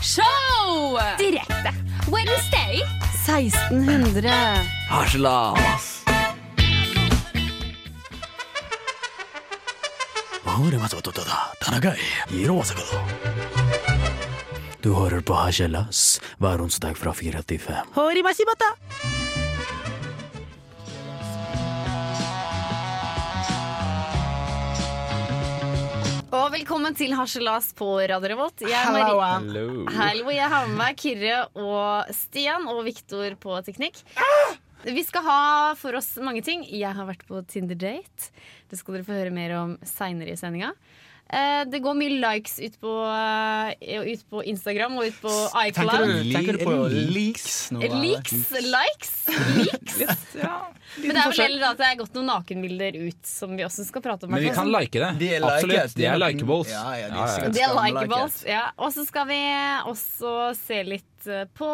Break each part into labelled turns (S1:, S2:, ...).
S1: Show! Direkte. Wednesday.
S2: 1600.
S3: Harselas. Du hører på Harselas hver onsdag fra 4 til 5.
S1: Og velkommen til Harselas på Radio Revolt. Jeg er Marie.
S4: Halloa.
S1: Hallo, jeg har med meg Kyrre og Stian og Viktor på teknikk. Vi skal ha for oss mange ting. Jeg har vært på Tinder-date. Det skal dere få høre mer om seinere i sendinga. Eh, Det går mye likes ut på, eh, ut på Instagram og ut på
S4: Tenker
S1: iCloud.
S4: du, tenker du på leaks nå? eller?
S1: Leaks, likes, leaks. Men det er vel heller da at det er gått noen nakenbilder ut, som vi også skal prate om.
S5: Men vi
S1: Markus.
S5: kan like det.
S4: De er liket,
S5: Absolutt.
S4: de
S5: De
S4: er
S5: er
S4: nok-
S5: likeables.
S4: Ja, ja, de er
S5: Ja, ja.
S4: sikkert-
S1: Det er
S4: Skamliket.
S1: likeables. Ja. Og så skal vi også se litt eh, på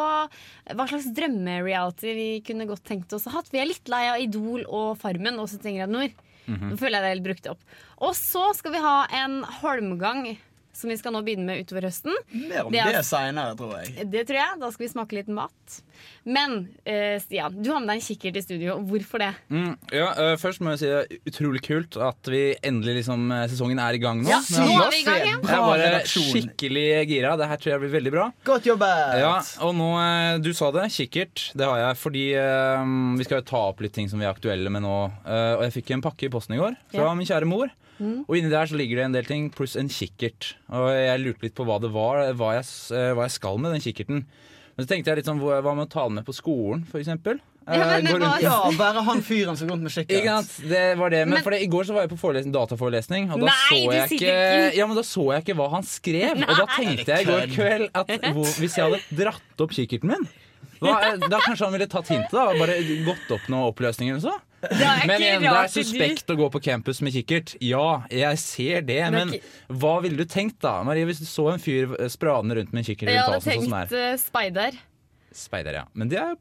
S1: hva slags drømmereality vi kunne godt tenkt oss å hatt. Vi er litt lei av Idol og Farmen og 71 grader nord.
S5: Mhm.
S1: Nå føler jeg det er helt brukt opp. Og så skal vi ha en holmgang. Som vi skal nå begynne med utover høsten.
S4: Mer om
S1: Det
S4: det,
S1: er- altså-
S4: senere, tror jeg.
S1: Det tror jeg, Da skal vi smake litt mat. Men eh, Stian, du har med deg en kikkert i studio. Hvorfor det?
S5: Mm, ja, øh, først må jeg si det er utrolig kult at vi endelig liksom øh, sesongen er i gang nå.
S4: Ja,
S1: nå er vi i gang igjen.
S5: Jeg er
S4: Bra
S5: bare
S4: redaksjon.
S5: skikkelig gira. Det her tror jeg blir veldig bra.
S4: Godt jobbet!
S5: Ja, og nå, eh, Du sa det, kikkert. Det har jeg fordi eh, vi skal jo ta opp litt ting som vi er aktuelle med nå. Eh, og Jeg fikk en pakke i posten i går fra
S1: Ja. Mm.
S5: min kjære mor. Og inni der så ligger det en del ting, pluss en kikkert. Og jeg lurte litt på hva det var, hva jeg, s- eh, hva jeg skal med den kikkerten. Men så tenkte jeg litt sånn, hva hva med å ta den med på skolen, Eh, f.eks.?
S1: Ja, men det var-
S4: Ja, være han fyren som går rundt med kikkert.
S5: Ikke sant? Det var det, men,
S1: Men-
S5: for det, I går så var jeg på forelesning, dataforelesning, og da,
S1: Nei, du
S5: så jeg
S1: sier
S5: ikke,
S1: ikke.
S5: ja, men da så jeg ikke hva han skrev. Og da tenkte jeg i går kveld at hvor, hvis jeg hadde dratt opp kikkerten min da, da kanskje han ville tatt hintet da, og bare gått opp noen oppløsninger eller så.
S1: Det er
S5: Men igjen, det er
S1: til du-
S5: suspekt å gå på campus med kikkert. Ja, jeg ser det,
S1: Men
S5: men
S1: ikke-
S5: hva ville du tenkt da, Marie, hvis du så en fyr eh, spradende rundt med en kikkert
S1: Jeg
S5: rundt
S1: hadde
S5: halsen sånn som
S1: tenkt
S5: det er?
S1: eh, speider.
S5: Speider, ja. Men det er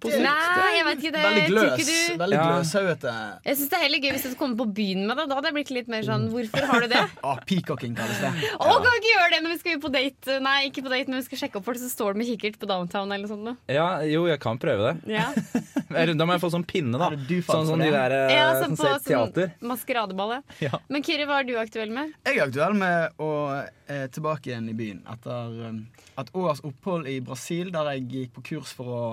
S5: på sikt.
S1: Nei, jeg vet ikke det.
S4: Veldig
S1: Tror
S4: gløs.
S1: ikke Eh, du
S4: Veldig
S5: Ja.
S4: gløshauete.
S1: Jeg synes det er heller gøy hvis du kommer på byen med det. Da hadde jeg blitt litt mer sånn Hvorfor har du det?
S4: Ah, peacocking kalles det.
S1: Å, kan vi ikke gjøre det når vi skal ut på date? Nei, ikke på date, men vi skal sjekke opp folk, så står du med kikkert på downtown eller sånt noe.
S5: Ja, jo, jeg kan prøve det.
S1: Ja,
S5: Eller, Da må jeg få sånn pinne, da.
S4: Er det du
S5: Sånn
S4: fant
S5: som
S4: for
S5: de
S4: det?
S5: der eh,
S1: ja sånn
S5: som
S1: på
S5: ser teater.
S1: sånn maskeradeball, ja.
S5: Ja.
S1: Men Kyrre, hva er du aktuell med?
S4: Jeg er aktuell med å eh, tilbake igjen i byen etter eh, et års opphold i Brasil, der jeg gikk på kurs for å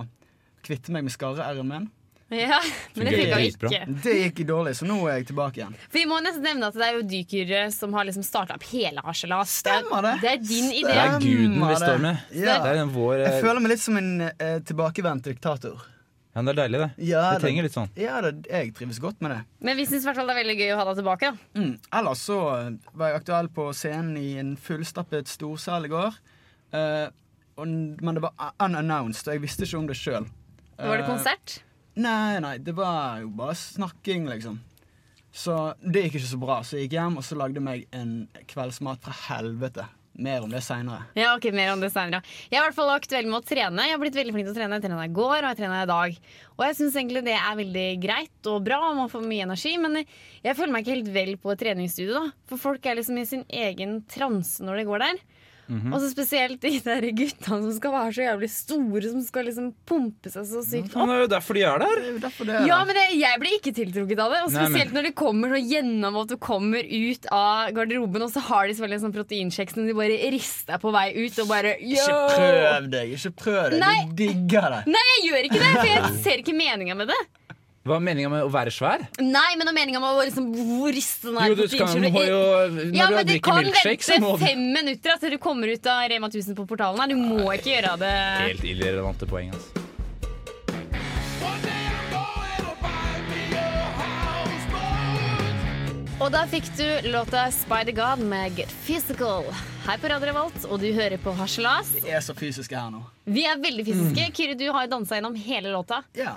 S4: kvitte meg med skarre-r-en min.
S1: Ja, men det
S5: Fungerer
S1: funka
S5: dritbra.
S1: ikke.
S4: Det gikk dårlig, så nå er jeg tilbake igjen.
S1: For vi må nesten nevne at det er jo du, Kyrre, som har liksom starta opp hele Harselas. Det er-
S4: Stemmer det.
S1: Det er din idé.
S5: Det er guden vi
S4: Stemmer
S5: står
S4: det.
S5: med.
S4: Ja.
S5: Det er den vår eh,
S4: Jeg føler meg litt som en eh, tilbakevendt diktator.
S5: Ja, det er deilig, det.
S4: Ja,
S5: Vi trenger litt sånn.
S4: Ja, det, jeg trives godt med det.
S1: Men vi syns i hvert fall det er veldig gøy å ha deg tilbake, da.
S4: Mm. Ellers så var jeg aktuell på scenen i en fullstappet storsal i går. Eh, og, men det var unannounced, og jeg visste ikke om det sjøl.
S1: Var
S4: Eh.
S1: det konsert?
S4: Nei, nei, det var jo bare snakking, liksom. Så det gikk ikke så bra, så jeg gikk hjem og så lagde jeg meg en kveldsmat fra helvete. Mer om det seinere.
S1: Ja, ok, mer om det senere. Jeg er i hvert fall aktuell med å trene. Jeg har blitt veldig flink til å trene. Jeg trena i går, og jeg trena i dag. Og jeg syns egentlig det er veldig greit og bra, og man får mye energi. Men jeg føler meg ikke helt vel på et treningsstudio, da. For folk er liksom i sin egen transe når de går der. Og så spesielt de der gutta som skal være så jævlig store, som skal liksom pumpe seg så sykt
S5: Men
S1: opp.
S5: det er jo derfor de er der!
S4: Det er jo derfor det er
S1: Ja,
S4: det.
S1: men det, jeg blir ikke tiltrukket av det. Og
S5: Nei, men-
S1: spesielt når det kommer så gjennomvåt og kommer ut av garderoben, og så har de selvfølgelig en sånn proteinsjekk som de bare rister på vei ut, og bare
S4: Ikke
S1: Yo!
S4: prøv deg! Ikke prøv deg!
S1: Nei.
S4: Du digger det!
S1: Nei, jeg gjør ikke det, for jeg ser ikke meninga med det.
S5: Hva er meninga med å være svær?
S1: Nei, men om meninga med å liksom hvor risten er
S5: Jo, du
S1: på
S5: skal
S1: finkjølet-
S5: må jo Når
S1: ja,
S5: du
S1: men det
S5: drikker
S1: kan
S5: milkshake, så
S1: vente
S5: må du
S1: fem minutter til du kommer ut av Rema 1000 på portalen. Nei, du må ikke gjøre det.
S5: Helt irrelevante poeng, altså.
S1: Og da fikk du låta Spider God med Get Physical. Her på Radio Revolt, og du hører på Harselas.
S4: Jeg er så fysisk her nå.
S1: Vi er veldig fysiske. Kyrre, du har dansa gjennom hele låta.
S4: Ja.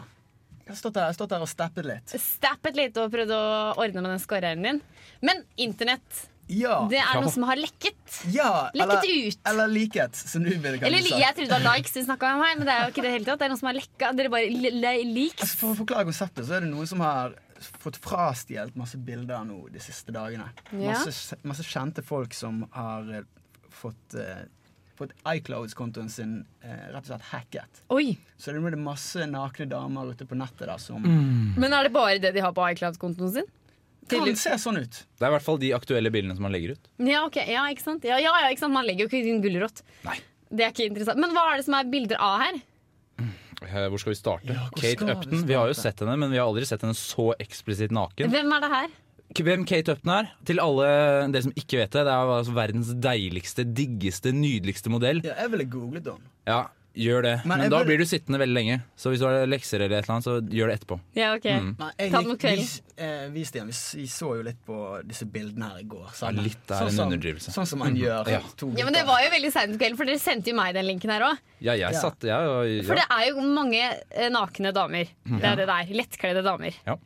S4: Jeg har stått her, jeg har stått her og steppet litt.
S1: Stappet litt og prøvd å ordne med den skorreeren din. Men internett,
S4: Ah, Ja.
S1: det er
S5: Ja.
S1: noe som har lekket.
S4: ja.
S1: Lekket
S4: eller,
S1: ut.
S4: Eller likhet, som du ville
S1: Eller
S4: kalle
S1: li-
S4: det.
S1: jeg trodde det var likes vi snakka om her, men det er jo ikke det hele tatt. Det er noe som er lekka. Dere bare li- li- liks.
S4: Altså, for å forklare konseptet, så er det noen som har fått frastjålet masse bilder nå de siste dagene.
S1: Ja.
S4: Masse, masse kjente folk som har eh, fått eh, fått iClouds-kontoen sin eh, rett og slett hacket.
S1: Oi!
S4: Så det er masse nakne damer ute på nettet da, som
S5: Mm.
S1: Men er det bare det de har på iCloud-kontoen sin?
S4: kan se sånn ut.
S5: Det er i hvert fall de aktuelle bildene som man legger ut.
S1: Ja, ok, ja, ikke sant? Ja, ja, ja, ikke sant? Man legger jo ikke inn gulrot.
S5: Nei.
S1: Det er ikke interessant. Men hva er det som er bilder av her?
S5: Eh, Hvor skal vi starte?
S4: Ja, hvor
S5: Kate
S4: skal vi
S5: Upton. Vi har jo
S4: starte?
S5: sett henne, men vi har aldri sett henne så eksplisitt naken.
S1: Hvem er det her?
S5: Hvem Kate Upton er? Til alle dere som ikke vet det, det er altså verdens deiligste, diggeste, nydeligste modell.
S4: Ja, jeg ville googlet henne.
S5: Ja, gjør det.
S4: Men jeg
S5: Men, da
S4: vil-
S5: blir du sittende veldig lenge. Så hvis du har lekser eller et eller annet, så gjør det etterpå.
S1: Ja, ok.
S4: Nei, jeg
S1: Ta den
S4: gikk-
S1: mot kvelden.
S4: Vi, s- eh, vi, Stian, vi, s- vi så jo litt på disse bildene her i går.
S5: Ja, litt er en
S4: som,
S5: underdrivelse. Mm.
S4: Sånn som man gjør.
S5: Ja.
S4: to
S1: Ja, men Det
S4: gutter.
S1: var jo veldig seint på kvelden, for dere sendte jo meg den linken her òg.
S5: Ja, jeg
S4: Ja.
S5: satt ja, ja,
S1: For det
S5: ja. Mhm.
S1: er jo mange eh, nakne damer. Det er det det er. Lettkledde damer.
S5: Ja.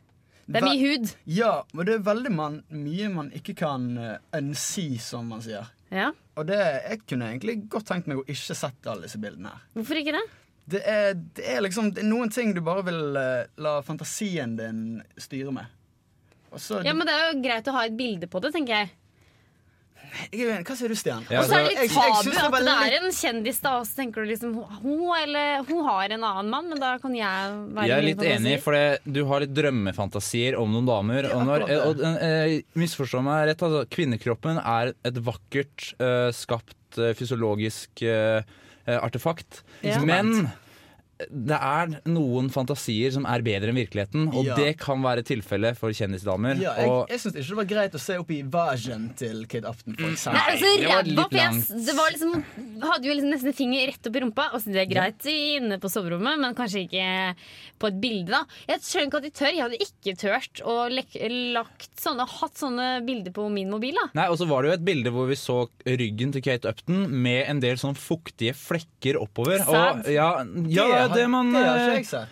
S1: Det er mye hud.
S4: Ja, men det er veldig man, mye man ikke kan eh, unsee, som man sier.
S1: Ja.
S4: Og det, jeg kunne egentlig godt tenkt meg å ikke sett alle disse bildene her.
S1: Hvorfor ikke det?
S4: Det er, det er liksom det er noen ting du bare vil eh, la fantasien din styre med. Og så,
S1: Ja, men Det er jo greit å ha et bilde på det, tenker jeg.
S4: jeg er uenig. Hva sier du, Stian?
S5: Ja,
S1: Og så er det
S5: altså,
S1: litt
S4: jeg- jeg
S1: tabu
S4: synes det
S1: at
S4: var
S1: det er en kjendis, da, og så tenker du liksom hun, eller, hun har en annen mann, men da kan jeg være
S5: Jeg er
S1: min
S5: litt
S1: fantasi.
S5: enig, for det- du har litt drømmefantasier om noen damer.
S4: Ja,
S5: Og når,
S4: akkurat det.
S5: og, eh, misforstå meg rett, altså, kvinnekroppen er et vakkert eh, skapt eh, fysiologisk eh, eh, artefakt.
S1: Ja.
S5: Men det er noen fantasier som er bedre enn virkeligheten, og
S4: Ja.
S5: det kan være tilfellet for kjendisdamer.
S4: Ja, jeg,
S5: og
S4: jeg syns ikke det var greit å se opp i vagen til Kate Upton, for
S1: Nei,
S4: eksempel.
S1: altså,
S5: det var
S1: ræva
S5: litt
S1: for jeg
S5: langt.
S1: det var liksom, hadde jo liksom nesten finger rett opp i rumpa. Og så det er greit inne på soverommet, men kanskje ikke på et bilde. da Jeg skjønner ikke at de tør. Jeg hadde ikke turt å lek- lagt sånne, hatt sånne bilder på min mobil. da
S5: Nei, og så var det jo et bilde hvor vi så ryggen til Kate Upton med en del sånn fuktige flekker oppover.
S1: Sad.
S5: Og, ja, ja, det,
S4: har-
S5: man eh,
S4: det har ikke jeg sett.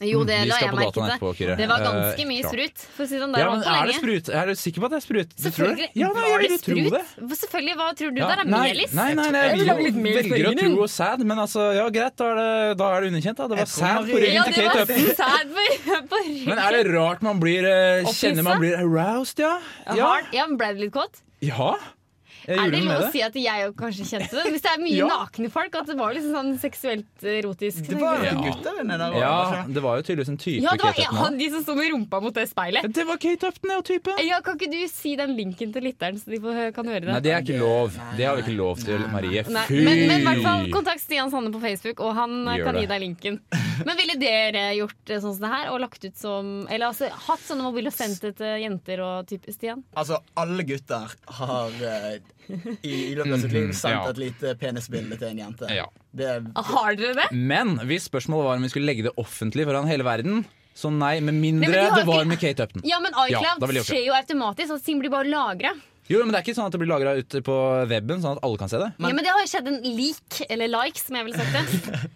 S1: Jo, det
S5: Mm, Vi
S1: la
S5: skal
S1: jeg
S5: på
S1: merke
S5: dataen
S1: til.
S5: etterpå, Kyrre.
S1: Det var ganske
S5: Eh,
S1: mye
S5: klart.
S1: sprut. For å si det sånn, der
S5: Ja, men
S1: holdt på
S5: er det
S1: lenge.
S5: sprut? Er du sikker på at det er sprut? Du tror
S1: Selvfølgelig
S5: det? Ja, nei,
S1: var
S5: jeg
S1: det
S5: vil tro
S1: sprut.
S5: det.
S1: Hva- Selvfølgelig, Hva tror du?
S5: Ja,
S1: Der er
S5: nei,
S1: melis.
S5: nei, nei, nei,
S4: Jeg
S5: jeg
S4: vil lage litt
S5: vil-
S1: mer
S5: velger å
S1: spennende.
S5: tro og sad, men altså, ja greit, da er det, da er det underkjent. Da. Det var
S4: Jeg tror
S5: sad på
S4: Marie-
S1: Ja,
S5: ryggen til
S1: det
S5: Kate
S1: var
S5: Upton.
S1: sæd på, på
S5: Men
S1: ryggen.
S5: er det rart man blir eh,
S1: Opphisset?
S5: Kjenner man blir aroused, ja? Ja.
S1: Hard. Ja, men ble det litt kåt?
S5: ja. Jeg
S1: Er
S5: gjorde
S1: det
S5: noe
S1: lov
S5: med
S1: å si at jeg jo kanskje kjente det? Hvis det er mye
S5: Ja.
S1: nakne folk, at det var liksom sånn seksuelt erotisk. sånn
S4: Det var
S5: Ja.
S4: noen gutter inne der også, var
S5: Ja,
S4: det ikke det?
S5: det var jo tydeligvis en type
S1: ja, det var
S5: Kate Upton.
S1: han, de som sto med rumpa mot det speilet.
S5: Det var Kate Upton, ja, typen.
S1: Ja, kan ikke du si den linken til lytteren, så de får, kan høre det?
S5: Nei, det er ikke lov.
S4: Nei,
S5: Det har vi ikke lov til,
S4: nei.
S5: Marie.
S1: Nei,
S5: Fy!
S1: men, men i hvert fall kontakt Stian Sanne på Facebook, og han eh,
S5: Gjør
S1: kan
S5: det.
S1: gi deg linken. Men ville dere gjort eh, sånn som det her, og lagt ut som Eller altså hatt sånne mobiler og sendt det til jenter og type Stian?
S4: Altså, alle gutter har eh, i, i løpet av sitt liv sendt
S5: Mhm, ja.
S4: et lite penisbilde til en jente.
S5: Ja.
S4: Det er
S1: Ah, Har dere det?
S5: Men hvis spørsmålet var om vi skulle legge det offentlig foran hele verden, så nei, med mindre
S1: Nei, men de har
S5: det var
S1: ikke-
S5: med Kate Upton.
S1: Ja, men
S5: Ja, da
S1: iCloud
S5: ville jeg gjort det.
S1: skjer jo automatisk, så ting blir bare lagra.
S5: Jo, men det er ikke sånn at det blir lagra ute på webben, sånn at alle kan se det.
S1: ja, men det har jo skjedd en leak, eller like, som jeg ville sagt det.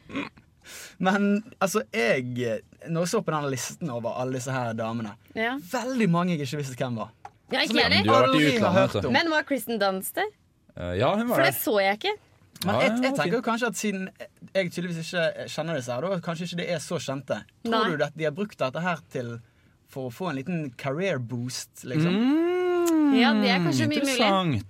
S4: Men altså, jeg eh, Når jeg så på denne listen over alle disse her damene
S1: Ja.
S4: Veldig mange jeg ikke visste hvem var.
S1: Ja, ikke
S4: Som jeg
S1: jeg
S5: Du
S1: heller.
S5: har vært i
S4: aldri har
S5: utlandet, altså.
S4: hørt
S5: vet du.
S4: om.
S1: Men var Kristen Dunst der?
S5: Eh, Ja, hun
S1: For
S5: var
S1: det
S5: der.
S1: så jeg ikke.
S4: Men
S5: Ja,
S4: jeg,
S5: ja,
S4: jeg tenker
S5: fint.
S4: jo kanskje at siden jeg tydeligvis ikke kjenner disse her, da kanskje ikke det er så kjente.
S1: Nei.
S4: Tror du at de har brukt dette her til for å få en liten career boost, liksom?
S5: Mm,
S1: Ja, det er kanskje mye mulig.
S5: Interessant.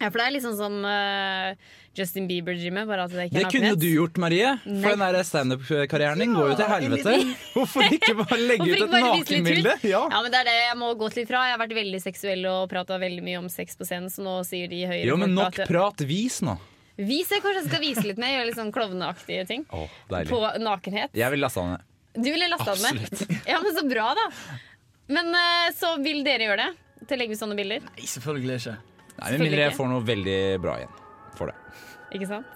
S1: Ja, for det er liksom som eh, Justin Bieber, Jimmy. Bare at det ikke
S5: Det
S1: er
S5: kunne jo
S1: nakenhet.
S5: du gjort, Marie.
S1: Nei.
S5: For den der standup-karrieren din går jo til
S4: Ja,
S5: helvete. Hvorfor ikke bare legge
S1: Hvorfor
S5: ut
S1: ikke
S5: et
S1: bare vise litt
S5: nakenbilde?
S1: ut?
S5: Ja.
S1: Ja, men det er det jeg må gå til ifra. Jeg har vært veldig seksuell og prata veldig mye om sex på scenen, så nå sier de høyere
S5: Jo, men nok
S1: folk at-
S5: prat. Vis nå.
S1: Vis jeg kanskje jeg skal vise litt mer, gjøre litt sånn klovneaktige ting.
S5: Å, deilig.
S1: På nakenhet.
S5: Jeg vil laste han ned.
S1: Du ville lasta den ned. Ja, men så bra, da. Men eh, så vil dere gjøre det? Til å legge ut sånne bilder?
S4: Nei, selvfølgelig ikke.
S5: Nei, Med mindre
S1: Selvfølgelig
S5: jeg
S1: ikke.
S5: får noe veldig bra igjen for det.
S1: Ikke sant?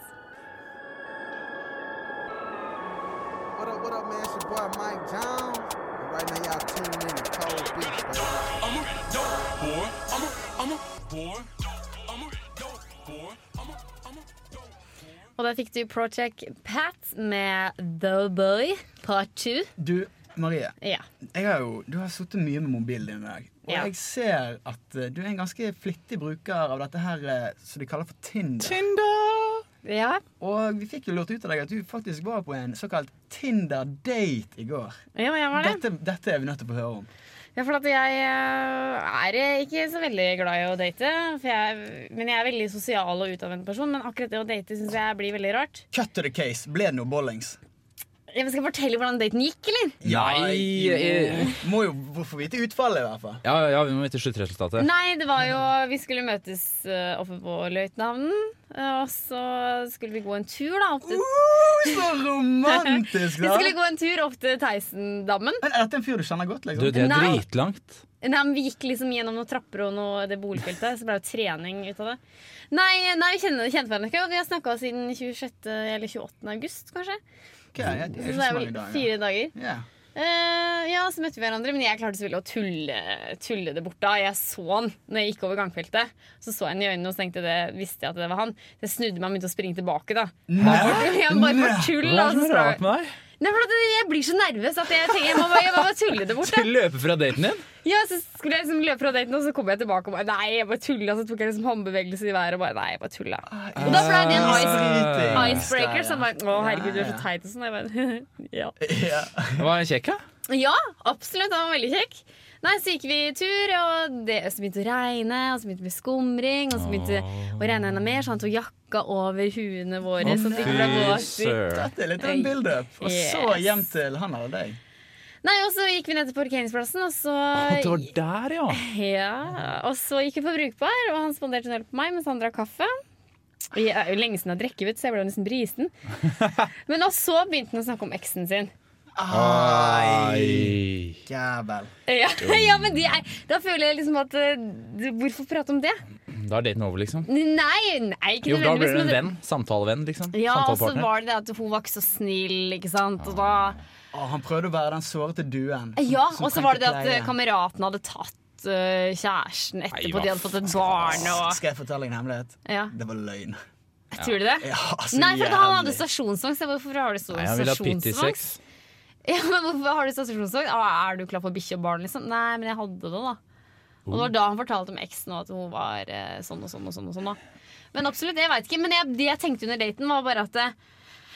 S6: What up, what up, man? It's your boy Mike Jones. And right now, y'all tuning in to Cold Beats, baby.
S1: Og der fikk du Project Pat med The Boy Part 2.
S4: Du, Marie.
S1: Ja.
S4: jeg har jo, du har sittet mye med mobilen din i dag. Og
S1: Ja.
S4: jeg ser at eh, du er en ganske flittig bruker av dette her eh, som de kaller for Tinder.
S1: ja.
S4: Og vi fikk jo lurt ut av deg at du faktisk var på en såkalt Tinder-date i går.
S1: Ja, jeg var det.
S4: Dette, dette er vi nødt til å få høre om.
S1: Ja, for at jeg eh, er ikke så veldig glad i å date. For jeg, men jeg er veldig sosial og utadvendt person. Men akkurat det å date syns jeg blir veldig rart.
S4: Cut to the case. Ble det noe bollings?
S1: Jeg skal fortelle hvordan daten gikk, eller?
S5: Nei, eh.
S4: jo. Må jo få vite utfallet, i hvert fall.
S5: Ja, ja, vi må vite sluttresultatet.
S1: Nei, det var jo Vi skulle møtes eh, oppe på Løitenhavnen. eh, Og så skulle vi gå en tur, da. Opp til,
S4: Uh, så romantisk,
S1: vi
S4: da!
S1: skulle gå en tur opp til Theisendammen.
S4: Men Er dette en fyr du kjenner godt?
S5: Du,
S4: liksom?
S5: det er
S1: Nei.
S5: dritlangt.
S1: Nei, men Vi gikk liksom gjennom noen trapper og noe, det boligfeltet, så ble det jo trening ut av det. Nei, nei vi kjenner, kjente hverandre ikke, og vi har snakka siden 26. eller 28. august, kanskje.
S4: Ok, jeg, det er
S1: Så
S4: ikke
S1: det
S4: så
S1: er
S4: mange
S1: vel
S4: dager.
S1: fire dager.
S4: Ja.
S1: Eh, ja, så møtte vi hverandre, men jeg klarte selvfølgelig å tulle, tulle det bort da. Jeg så han når jeg gikk over gangfeltet. Så så jeg han i øynene og så tenkte jeg det, visste jeg at det var han. Så jeg snudde meg og begynte å springe tilbake, da.
S4: Nei!
S1: Jeg bare for tull, da.
S5: Hva er
S1: Så
S5: det som er rart
S1: sprang-
S5: med deg?
S1: Nei, for at jeg blir så nervøs at jeg tenker jeg må bare, jeg må bare tulle det bort. Da.
S5: Skal vi løpe fra daten din?
S1: Ja, så skulle jeg liksom løpe fra daten, og så kom jeg tilbake og bare Nei, jeg bare tulla. Så tok jeg liksom håndbevegelse i været og bare Nei, jeg bare tulla. Og da ble det en ice,
S4: Ah,
S1: Eh, icebreaker som bare Å, herregud, du er
S4: Ja,
S1: så teit og sånn. Jeg bare, ja.
S4: Ja.
S5: Det var en kjekk, ja.
S1: ja, absolutt. Han var veldig kjekk. Nei, Så gikk vi tur, og det så begynte det å regne, og så begynte det å bli skumring. Og så begynte det å regne enda mer, så han tok jakka over huene våre. så at det ikke ble vått.
S5: søren.
S4: Dette er litt av en build-up. Og så
S1: Yes.
S4: hjem til han eller deg.
S1: Nei, og så gikk vi ned til parkeringsplassen, og så
S5: Det var der, ja.
S1: Ja, og så gikk vi på brukbar, og han spanderte en øl på meg mens han drakk kaffe. Jeg er jo lenge siden jeg har drukket, vet du, så jeg ble jo nesten brisen. Men og så begynte han å snakke om eksen sin.
S5: Ah,
S4: Ah. Ai,
S5: Ei.
S4: jævel.
S1: Ja, ja men de er, Da føler jeg liksom at eh, Hvorfor prate om det?
S5: Da er daten over, liksom.
S1: Nei, nei ikke
S5: Jo, da
S1: nødvendigvis.
S5: blir du en
S1: men-
S5: venn. Samtalevenn, liksom.
S1: Ja, og så
S5: Samtalepartner.
S1: var det det at hun var ikke så snill, ikke sant. Og da,
S4: Å, Ah, han prøvde å være den sårete duen. som-
S1: Ah. ja,
S4: som
S1: og så
S4: trengte
S1: var det det at eh,
S4: pleie.
S1: kameraten hadde tatt eh, kjæresten etterpå.
S5: hva
S1: De hadde fått et barn og
S4: Skal jeg fortelle en hemmelighet?
S1: Ja,
S4: Det var løgn.
S1: tror du det?
S4: Ja, så
S1: Nei, for at han hadde
S4: jævlig.
S1: stasjonsvogn. så Hvorfor har du stasjonsvogn?
S5: Nei, han ville ha pitty-sex.
S1: Ja, men hvorfor har du stasjonsvogn? Ah, er du klar for bikkje og barn, liksom? Nei, men jeg hadde det, da. Og det var da han fortalte om eksen og at hun var eh, sånn og sånn og sånn. og sånn da. Men absolutt, jeg vet ikke. Men jeg, det jeg tenkte under daten, var bare at eh,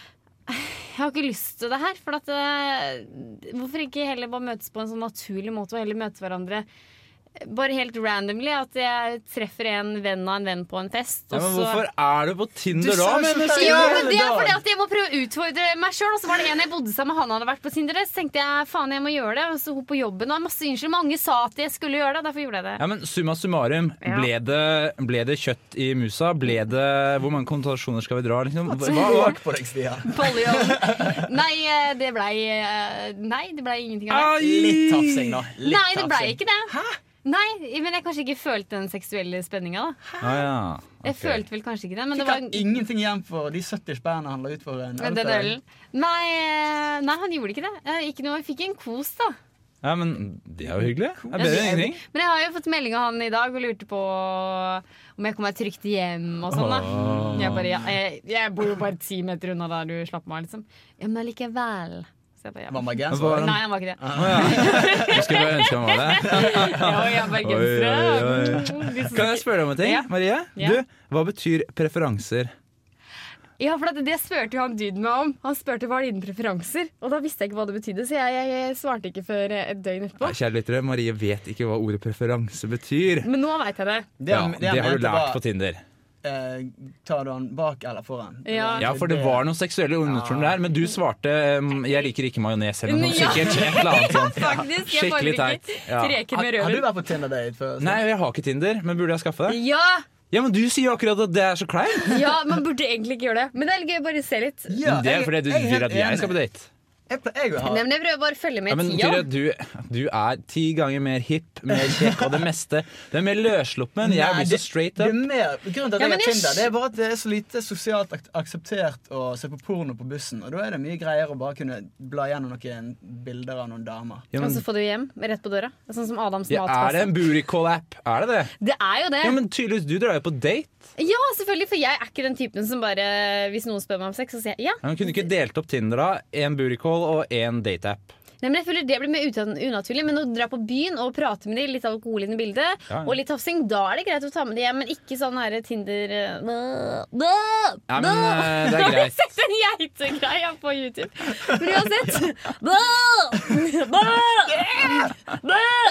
S1: jeg har ikke lyst til det her. For at eh, Hvorfor ikke heller bare møtes på en sånn naturlig måte, og heller møte hverandre eh, bare helt randomly? At jeg treffer en venn av en venn på en fest.
S5: Ja,
S1: og
S5: men
S1: så-
S5: hvorfor er du på Tinder da,
S4: sa jo
S5: mener
S4: så
S5: du?
S1: jo,
S4: Ja,
S1: men det er
S4: dag.
S1: fordi at jeg må prøve å utfordre meg sjøl. Og så var det en jeg bodde sammen med, han hadde vært på Tinder. Så tenkte jeg faen, jeg må gjøre det. Og så hun på jobben, og masse unnskyld. Mange sa at jeg skulle gjøre det, derfor gjorde jeg det.
S5: Ja, men summa summarum,
S1: Ja.
S5: ble det, ble det kjøtt i musa? Ble det, hvor mange konsultasjoner skal vi dra? Liksom? Hva, hva?
S4: Bak på deg, Stia.
S1: Bollejobben. Nei, eh, det blei eh, Nei, det blei ingenting av det.
S4: Litt tafsing, da. Ah, Litt altså.
S1: Nei, det blei
S4: tafsing.
S1: ikke det. Nei, men jeg kanskje ikke følte den seksuelle spenninga, da.
S5: Ah, ja.
S1: Jeg
S5: Ok.
S1: følte vel kanskje ikke det, men det
S4: Fikk
S1: var
S4: han ingenting igjen for de 70 spennene han la ut for en
S1: men den
S4: til deg?
S1: ølen. Nei, eh, nei, han gjorde ikke det. Eh, Ikke noe, jeg fikk en kos, da.
S5: Ja, men det er jo hyggelig. Det er bedre enn ingenting.
S1: Men jeg har jo fått melding av han i dag og lurte på om jeg kom meg trygt hjem og sånn. da jeg, bare, ja, jeg, jeg bor jo bare ti meter unna der du slapp meg av, liksom. Ja, men allikevel. Så jeg bare, ja.
S4: Var han
S5: Men hva
S4: bergenser?
S5: er
S1: Nei, han var ikke det.
S5: Jeg skulle bare ønske han var det.
S1: Ja, jeg er
S5: Oi, oi,
S1: bergensere. De som
S5: Kan jeg
S1: snakker-
S5: spørre deg om en ting,
S1: Ja.
S5: Marie?
S1: Ja.
S5: Du, hva betyr preferanser?
S1: Ja, for det, det spurte jo han duden meg om. Han spurte hva er dine preferanser, og da visste jeg ikke hva det betydde, så jeg, jeg, jeg svarte ikke før et døgn etterpå.
S5: Nei, Kjære lyttere, Marie vet ikke hva ordet preferanse betyr.
S1: Men nå veit jeg det.
S4: Det
S5: Ja,
S4: han-
S5: det
S4: han
S5: har du
S4: mente
S5: lært
S4: var,
S5: på Tinder.
S4: eh, Tar du han bak eller foran?
S1: Ja.
S5: Ja, for det var noen seksuelle undertoner der, men du svarte um, 'jeg liker ikke majones' eller noe
S1: Ja.
S5: sånt. Sikkert et eller annet sånt.
S1: Faktisk. Jeg
S5: Skikkelig
S1: foretrekker
S5: teit. Ja.
S1: Treker med
S4: Har, har du
S1: røven.
S4: vært på Tinder-date før?
S5: Nei, jeg har ikke Tinder, men burde jeg skaffe det?
S1: Ja!
S5: Ja, men du sier jo akkurat at det er så kleint!
S1: Ja, man burde egentlig ikke gjøre det. Men det er litt gøy å bare se litt.
S4: Ja,
S5: det er
S4: jeg-
S5: fordi du
S4: jeg er helt
S5: vil at jeg skal på
S4: enig.
S5: date.
S4: Jeg ple- Jeg vil
S1: Nei,
S4: ha
S1: men jeg prøver bare å følge
S5: Ja,
S1: med
S5: men
S1: i
S5: Tyra,
S1: tida.
S5: du, du er ti ganger mer hipp, mer kjekk og det meste. Du er mer løssluppen. Jeg
S4: Nei,
S5: blir så straight
S4: Det er
S5: up.
S4: mer, grunnen til at
S1: Ja,
S4: jeg
S1: men
S4: har
S1: jeg
S4: Tinder,
S1: skj-
S4: det er bare at det er så lite sosialt ak akseptert å se på porno på bussen. Og da er det mye greier å bare kunne bla gjennom noen bilder av noen damer.
S5: Ja,
S1: Og
S5: men,
S1: så får du hjem rett på døra. Sånn som Adams
S5: ja, er det
S1: matkasse.
S5: en
S4: altså.
S5: booty call-app? Er det det?
S1: Det er jo det.
S5: Ja, men tydeligvis, du drar jo på date.
S1: Ja, selvfølgelig, for jeg er ikke den typen som bare Hvis noen spør meg om sex, så sier jeg ja.
S5: Ja, men kunne du ikke delt opp Tinder, da? En booty call og en date-app.
S1: Nei, men jeg føler Det blir mer uten- unaturlig, men å dra på byen og prate med dem, litt alkohol inn i bildet,
S5: Ja, ja.
S1: og litt tafsing, da er det greit å ta med dem hjem, men ikke sånn her Tinder eh, bæ, bæ,
S5: Ja, men
S1: bæ.
S5: eh, det er
S1: Har du
S5: greit.
S1: sett den geitegreia på YouTube? Men uansett bæ, bæ.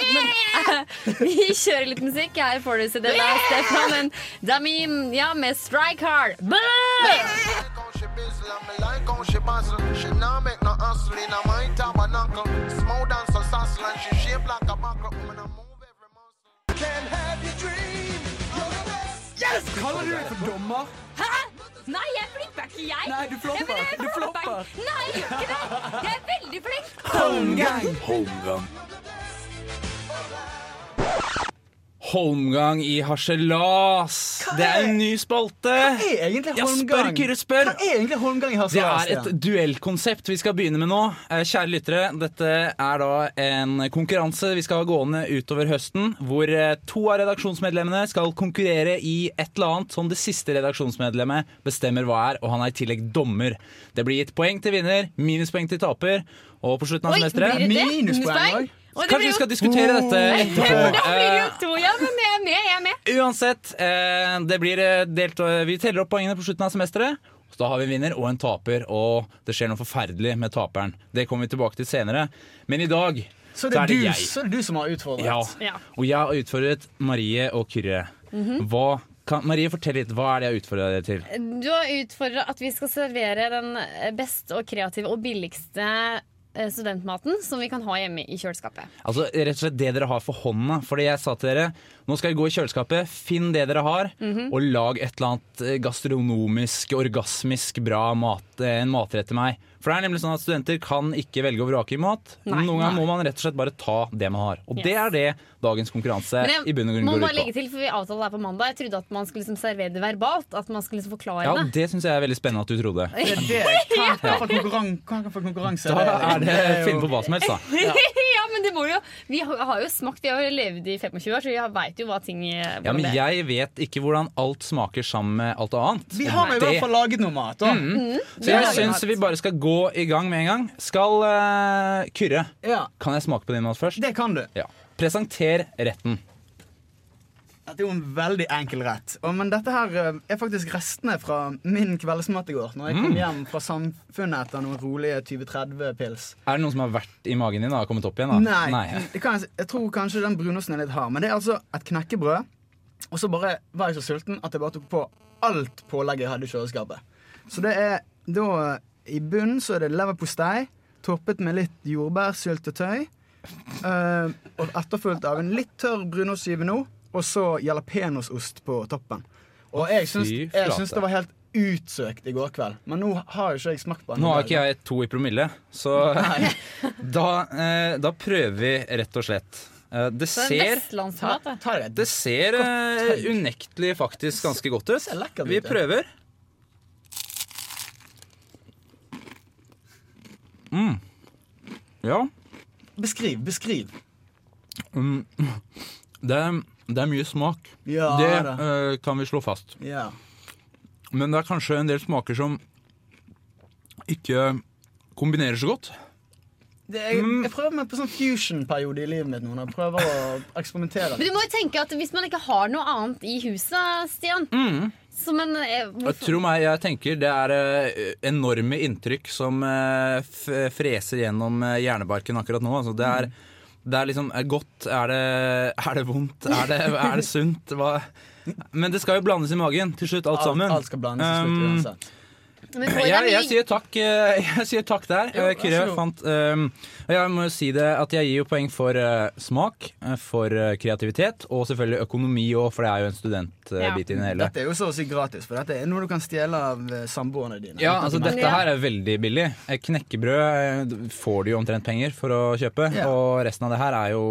S1: Men, eh, vi kjører litt musikk. Her får du se det der, Stefan. Men Damim, ja, med Strike Hard.
S6: on she bizzle, I'm the like on she bazzle. She nah make no hustle in her mind tabernacle. Smooth and so sassy and she shape like a buckle. Woman, I move every muscle. Can have your dream. You're the best.
S4: Kaller du deg for dommer?
S1: Hæ? Nei, jeg flipper ikke, jeg.
S4: Nei, du flopper.
S1: Ja, men jeg
S4: Du flopper.
S1: flopper. Nei, jeg gjør ikke det. Jeg er veldig flink.
S4: Holmgang!
S5: Holmgang. Holmgang i harselas. Det er en ny spalte.
S4: Hva er egentlig
S5: Eh, Ja,
S4: holmgang?
S5: spør, Kyrre, spør.
S4: Hva er egentlig holmgang i
S5: Det
S4: Hasselas?
S5: er et duellkonsept vi skal begynne med nå. Eh, Kjære lyttere, dette er da en konkurranse vi skal ha gående utover høsten, hvor eh, to av redaksjonsmedlemmene skal konkurrere i et eller annet som det siste redaksjonsmedlemmet bestemmer hva er, og han er i tillegg dommer. Det blir gitt poeng til vinner, minuspoeng til taper, og på slutten av
S1: Oi, blir
S5: semesteret
S1: det det?
S4: Minuspoeng
S1: Minuspoeng?
S4: også.
S1: Og det
S5: Kanskje
S1: blir
S5: vi
S1: jo-
S5: skal diskutere dette
S1: For da blir
S5: etterpå.
S1: det jo
S5: Eh,
S1: to, ja, men jeg er med. Jeg er med.
S5: Uansett, eh, det blir eh, delt, eh, vi teller opp poengene på slutten av semesteret. Så da har vi en vinner og en taper, og det skjer noe forferdelig med taperen. Det kommer vi tilbake til senere. Men i dag
S4: Så det er, du,
S5: jeg.
S4: så det er du som har utfordret?
S5: Ja.
S1: Ja.
S5: Og jeg har utfordret Marie og Kyrre.
S4: Mhm.
S5: Hva kan, Marie, fortell litt. Hva er det jeg har utfordra dere til?
S1: Du har utfordra at vi skal servere den beste og kreative og billigste eh, studentmaten som vi kan ha hjemme i kjøleskapet.
S5: Altså rett og slett det dere har for hånda. Fordi jeg sa til dere nå skal jeg gå i kjøleskapet, finn det dere har, og lag et eller annet eh, gastronomisk, orgasmisk bra mat, eh, en matrett til meg. For det er nemlig sånn at studenter kan ikke velge og vrake i mat.
S1: Nei,
S5: Noen ganger
S1: nei.
S5: må man rett og slett bare ta det man har. Og det
S1: Yes.
S5: er det dagens konkurranse
S1: Men
S5: i bunn og grunn
S1: må
S5: går
S1: bare legge
S5: ut på.
S1: til, for vi avtalte det her på mandag. Jeg trodde at man skulle liksom servere det verbalt. At man skulle liksom forklare
S5: Ja,
S1: det.
S5: det syns jeg er veldig spennende at du trodde.
S4: Det er det. Hva hva for konkurran hva for konkurranse
S5: Da er det
S4: jo-
S5: finn på hva som helst, da.
S1: Ja. men det må jo Vi har har jo smakt, vi har jo levd i 25 år, så vi veit jo hva ting eh,
S5: Ja, men
S1: hvordan det-
S5: jeg vet ikke hvordan alt smaker sammen med alt annet.
S4: Vi har nå i
S5: Det- Mm.
S4: hvert fall laget noe mat. Da.
S5: Så jeg
S1: Ja.
S5: syns vi bare skal gå i gang med en gang. Skal eh, Kyrre,
S4: Ja,
S5: kan jeg smake på din mat først?
S4: Det kan du.
S5: Ja. Presenter retten.
S4: Dette er jo en veldig enkel rett. Og, men dette her eh, er faktisk restene fra min kveldsmat i går. Når jeg kom hjem fra samfunnet etter noen rolige 20-30-pils.
S5: Er det noen som har vært i magen din da, og kommet opp igjen? da?
S4: Nei, det kan, jeg si- jeg tror kanskje den brunosten er litt hard, men det er altså et knekkebrød. Og så bare var jeg så sulten at jeg bare tok på alt pålegget jeg hadde i kjøleskapet. Så det er da I bunnen så er det leverpostei toppet med litt jordbærsyltetøy. eh, og etterfulgt av en litt tørr brunost giveno, og så jalapeñosost på toppen. Og jeg syns,
S5: fy
S4: jeg
S5: flate.
S4: syns det var helt utsøkt i går kveld, men nå har jo ikke jeg smakt på den.
S5: Nå har ikke jeg to i promille, så da, eh, da prøver vi rett og slett. Eh, det
S1: Så det er
S5: ser,
S1: vestlandsmat. da.
S4: Ta det.
S5: det ser eh, unektelig faktisk ganske godt
S4: ser lekkert
S5: ut.
S4: ut,
S5: Vi
S4: ja.
S5: prøver. Mm. Ja.
S4: Beskriv, beskriv.
S5: Mm. Det er, det er mye smak.
S4: Ja
S5: det
S4: da.
S5: eh, kan vi slå fast.
S4: Ja.
S5: Men det er kanskje en del smaker som ikke kombinerer så godt.
S4: Det, jeg,
S5: Mm.
S4: jeg prøver meg på sånn fusion-periode i livet mitt nå. når Jeg prøver å eksperimentere.
S1: Men du må jo tenke at hvis man ikke har noe annet i huset, Stian Som en eh,
S5: Mm. Jeg
S1: hvorfor-
S5: tror meg, jeg tenker Det er eh, enorme inntrykk som eh, f freser gjennom eh, hjernebarken akkurat nå. Altså, det, er, det er liksom er godt Er det, er det vondt? Er det, er det sunt? Hva? Men det skal jo blandes i magen til slutt, alt sammen.
S4: Alt, alt skal blandes til slutt
S5: Um,
S4: uansett.
S1: Men får
S5: Jeg,
S1: jeg
S5: jeg,
S1: mye-
S5: sier takk, eh, jeg sier takk der.
S4: Jo,
S5: Eh, Kyrre
S4: vær så god.
S5: fant ehm, og Jeg må jo si det at jeg gir jo poeng for eh, smak, eh, for eh, kreativitet og selvfølgelig økonomi òg, for det er jo en
S1: Ja.
S5: studentbit i det hele.
S4: Dette er jo så å si gratis, for dette er noe du kan stjele av eh, samboerne dine.
S5: Ja, altså
S1: Men
S5: Dette
S1: ja.
S5: her er veldig billig. Eh, Knekkebrød eh, d- får du jo omtrent penger for å kjøpe.
S4: Ja.
S5: Og resten av det her er jo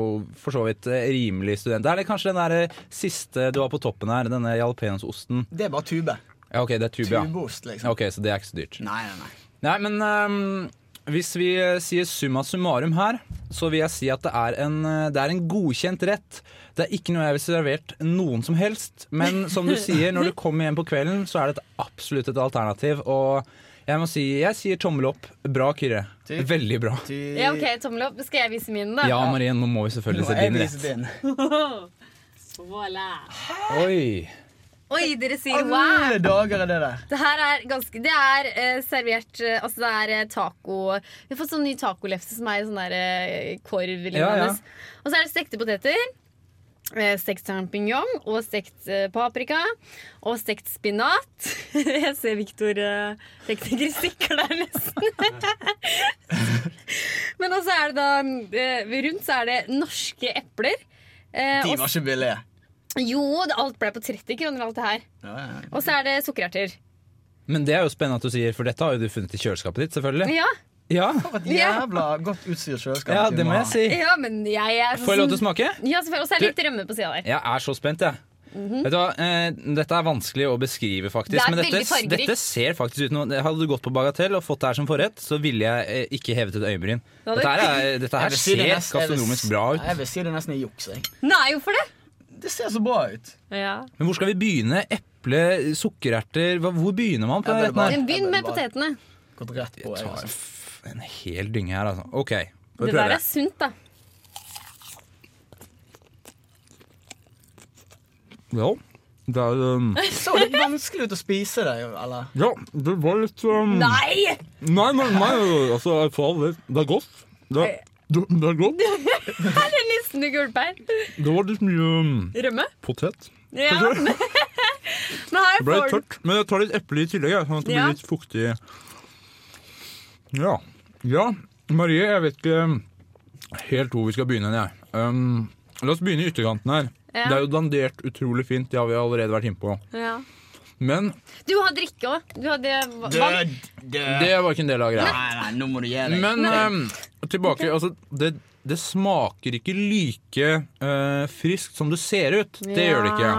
S5: for så vidt eh, rimelig student. Det er litt kanskje den der eh, siste du har på toppen her, denne jalapeñososten.
S4: Det er bare tube.
S5: Ja, OK, det er tube, ja.
S4: Tubeost, liksom.
S5: Ok, Så det er ikke så dyrt.
S4: Nei, nei, nei.
S5: Nei, men ehm, hvis vi eh, sier summa summarum her, så vil jeg si at det er, en, eh, det er en godkjent rett. Det er ikke noe jeg vil servert noen som helst, men som du sier, når du kommer hjem på kvelden, så er det et absolutt et alternativ. Og jeg må si, jeg sier tommel opp. Bra, Kyrre.
S4: Ty-
S5: Veldig bra.
S4: Ty...
S1: Ja, ok, tommel opp. Skal jeg vise min, da?
S5: Ja, Marie, nå må vi selvfølgelig
S4: Nå
S5: se
S4: er
S5: din
S4: vi
S5: rett.
S4: din.
S1: Voilà.
S5: Oi.
S1: Oi, dere sier wow!
S4: Alle dager er det der.
S1: Det her er ganske Det er eh, servert eh, Altså, det er eh, taco Vi har fått sånn ny tacolefse som er sånn der eh, korv-lignende.
S5: Ja, ja.
S1: Og så er det stekte poteter. eh, Stekt champignon og stekt eh, paprika. Og stekt spinat. Jeg ser Viktor eh, tekniker stikker der nesten. Men også er det da eh, Rundt så er det norske epler. Eh,
S4: De
S1: og,
S4: var ikke billige.
S1: jo, det- alt ble på 30 kroner, alt det her.
S4: Ja, ja, ja.
S1: Og så er det sukkererter.
S5: Men det er jo spennende at du sier, for dette har jo du funnet i kjøleskapet ditt, selvfølgelig.
S1: Ja.
S5: Ja,
S4: For et
S1: Ja.
S4: jævla godt utstyrt kjøleskap.
S5: ja
S4: du
S5: det må
S4: ha.
S5: jeg si.
S1: Ja, men jeg er sånn-
S5: Får jeg lov til å smake?
S1: Ja, selvfølgelig. Og så er det litt rømme på sida der.
S5: Jeg er så spent, jeg. Vet du hva, eh, Dette er vanskelig å beskrive,
S1: Mhm.
S5: faktisk.
S1: Det er
S5: men dette,
S1: veldig fargerikt.
S5: dette ser faktisk ut noe Hadde du gått på Bagatell og fått det her som forrett, så ville jeg eh, ikke hevet et øyebryn.
S1: Hadde-
S5: Dette her, er, dette
S4: Jeg
S5: her
S4: vil si det
S5: ser
S4: nesten- jeg vil-
S5: gastronomisk bra ut.
S4: Jeg vil si det nesten er juks. jeg.
S1: Nei, hvorfor det?
S4: Det ser så bra ut.
S1: Ja.
S5: Men hvor skal vi begynne? Eple, sukkererter hva- Hvor begynner man på
S4: Ja, det er
S5: denne retten her?
S1: Men begynn med
S4: Bare-
S1: potetene.
S4: Gått rett på.
S5: Jeg
S4: Jeg,
S5: tar
S4: altså.
S5: f- en hel dynge her, altså. OK, får vi
S1: Det
S5: prøve
S1: der
S5: det.
S1: er sunt, da.
S5: Ja, det er um,
S4: Så litt vanskelig ut å spise det, eller?
S5: Ja, det var litt um,
S1: Nei!
S5: Nei, men nei, altså, for all del. Det er godt. Det, det, det er godt.
S1: Det er Nissen i gulpær.
S5: Det var litt mye um,
S1: Rømme?
S5: potet.
S1: Ja. Men her
S5: Det ble
S1: får
S5: litt
S1: du
S5: tørt. Men jeg tar litt eple i tillegg, jeg, sånn at det
S1: Ja.
S5: blir litt fuktig. Ja. Ja, Marie, jeg vet ikke helt hvor vi skal begynne. Jeg. Um, la oss begynne i ytterkanten her.
S1: Ja.
S5: Det er jo dandert utrolig fint, det har vi allerede vært innpå.
S1: ja.
S5: Men
S1: Du har drikke òg. Du hadde va- vann.
S4: Død, død.
S5: det var ikke en del av greia.
S4: Nei, nei, nå må du gi deg.
S5: Men ehm, tilbake altså, det, det smaker ikke like eh, friskt som det ser ut. Det gjør det ikke.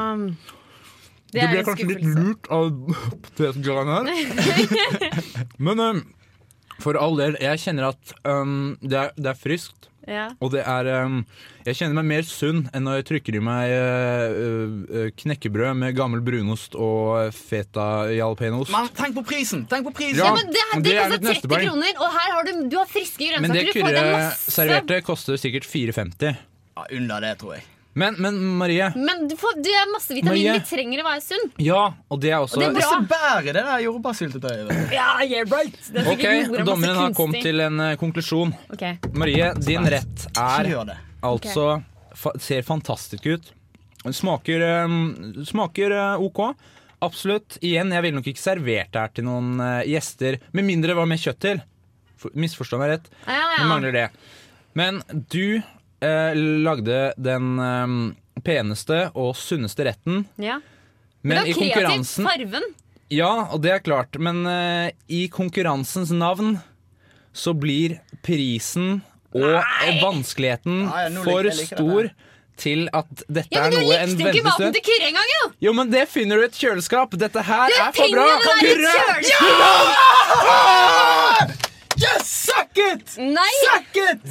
S1: Det
S5: Det
S1: er
S5: ble
S1: en
S5: kanskje litt
S1: skuffelse.
S5: lurt av potetgreiene her. Men um, for all del, jeg kjenner at um, det, er, det er friskt.
S1: Ja.
S5: Og det er um, Jeg kjenner meg mer sunn enn når jeg trykker i meg eh, eh, knekkebrød med gammel brunost og feta jalapeñoost.
S4: Men tenk på prisen! Tenk på prisen!
S1: Ja,
S5: Ja,
S1: men det, her-
S5: men
S1: det
S5: det er
S1: koster
S5: mitt neste
S1: 30
S5: poeng.
S1: kroner, og her har du, du har friske
S5: Men det
S1: grønnsaker. du får deg
S5: Kyrre
S1: masse.
S5: serverte, koster sikkert 4,50.
S4: Ja, under det, tror jeg.
S5: Men, men Marie,
S1: Men du får, det er masse vitaminer.
S5: Marie.
S1: Vi trenger å være sunn.
S5: ja, og det er også
S1: Og det er
S4: Og
S1: Bra.
S4: så bærer det der jordbærsyltetøyet. vet du.
S1: Ja, yeah, right. Det er
S5: Ok,
S1: sikkert jorda masse
S5: dommeren har kommet
S1: kunstig.
S5: til en eh, konklusjon.
S1: Ok.
S5: Marie, din rett er
S4: Gjør det.
S5: Altså, fa ser fantastisk ut. Smaker, eh, smaker eh, ok. Absolutt. Igjen, jeg ville nok ikke servert det her til noen eh, gjester, med mindre det var mer kjøtt til. For- Misforstå meg rett,
S1: Ja, Ah, ja.
S5: men mangler det. Men du eh, lagde den eh, peneste og sunneste retten,
S1: Ja. det
S5: men, i
S1: var kreativt.
S5: konkurransen
S1: Farven.
S5: Ja, og det er klart, men eh, i konkurransens navn så blir prisen og eh, vanskeligheten
S4: Ja, ja, nå liker-
S5: for
S4: jeg liker
S5: stor
S4: dette.
S5: til at dette
S1: Ja, men
S5: er
S1: Du
S5: noe en
S1: likte jo ikke maten
S5: vennestøt
S1: til Kyrre engang, jo!
S5: Jo, men det finner du i et kjøleskap! Dette her er for bra!
S1: Tingene der i
S5: Kurre!
S1: kjøleskapet!
S4: Yes! Suck it!
S1: Nei,
S4: Suck it!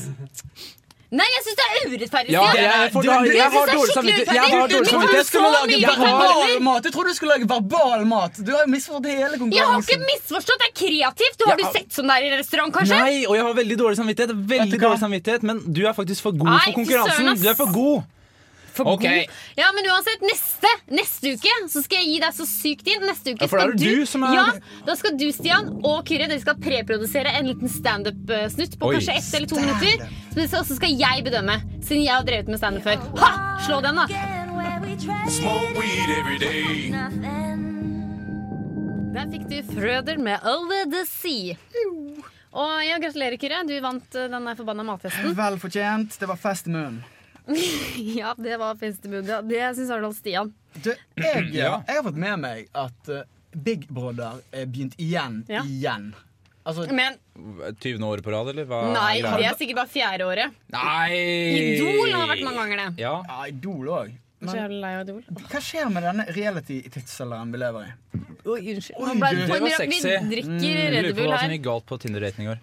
S1: nei, jeg syns det er urettferdig.
S5: Ja,
S1: Stian.
S5: jeg, er for
S4: Du-
S5: dårlig-
S4: du-
S5: jeg
S1: det
S5: har
S1: er
S5: dårlig
S1: skikkelig
S5: samvittighet. Jeg
S1: urettferdig.
S5: har dårlig
S1: Du- du-
S4: Trodde
S5: samvittighet.
S4: jeg skulle lage
S1: mye
S4: verbal
S1: verbaler.
S4: mat! Jeg trodde du skulle lage verbal mat! Du har misforstått hele
S1: Jeg har ikke
S4: konkurransen.
S1: misforstått. Det er kreativt. Har du
S5: Ja.
S1: sett sånn der i restaurant, kanskje?
S5: Nei, og jeg har veldig dårlig samvittighet.
S4: Vet du
S5: Veldig
S4: hva?
S5: dårlig samvittighet Men du er faktisk for god
S1: Nei, fy
S5: for
S1: søren,
S5: konkurransen.
S1: ass.
S5: Du er for god.
S1: For
S5: Ok.
S1: god. Ja, men uansett, neste, neste uke så skal jeg gi deg så sykt inn. Neste uke
S5: Ja, for da er
S1: skal
S5: det du som er-
S1: Ja, da skal du, Stian og Kyrre, dere skal preprodusere en liten standup-snutt på
S5: Oi,
S1: kanskje ett eller to minutter. Så det skal- så skal jeg bedømme, siden jeg har drevet med standup før. Ha! Slå den, da.
S7: Smoke weed every day. Nothing.
S1: Der fikk du Frøder med Over the Sea. Og ja, gratulerer, Kyrre. Du vant eh, den der forbanna matfesten.
S4: Vel fortjent. Det var fest i munnen.
S1: Ja, det var festebud. Ja, det syns i hvert fall Stian.
S4: Du, jeg, eh,
S5: Ja.
S4: jeg har fått med meg at eh, Big Brother er begynt igjen.
S1: Ja.
S4: Igjen. Altså,
S1: Men
S5: 20. år på rad, eller? Hva
S1: nei, det er sikkert bare fjerde året. Idol har vært mange ganger, det.
S5: Ja.
S4: ja, Idol òg.
S1: Så jævlig lei av Idol.
S4: Hva skjer med denne reality-tidsalderen vi lever i?
S1: Oi, unnskyld.
S4: Oi,
S1: Nå ble
S4: du,
S1: det
S4: det
S1: for
S5: var
S1: mye rart.
S5: sexy. Mm,
S1: Vi drikker Red
S5: Lurer på
S1: Bull
S5: hva som
S1: her.
S5: gikk galt på Tinder-daten i går.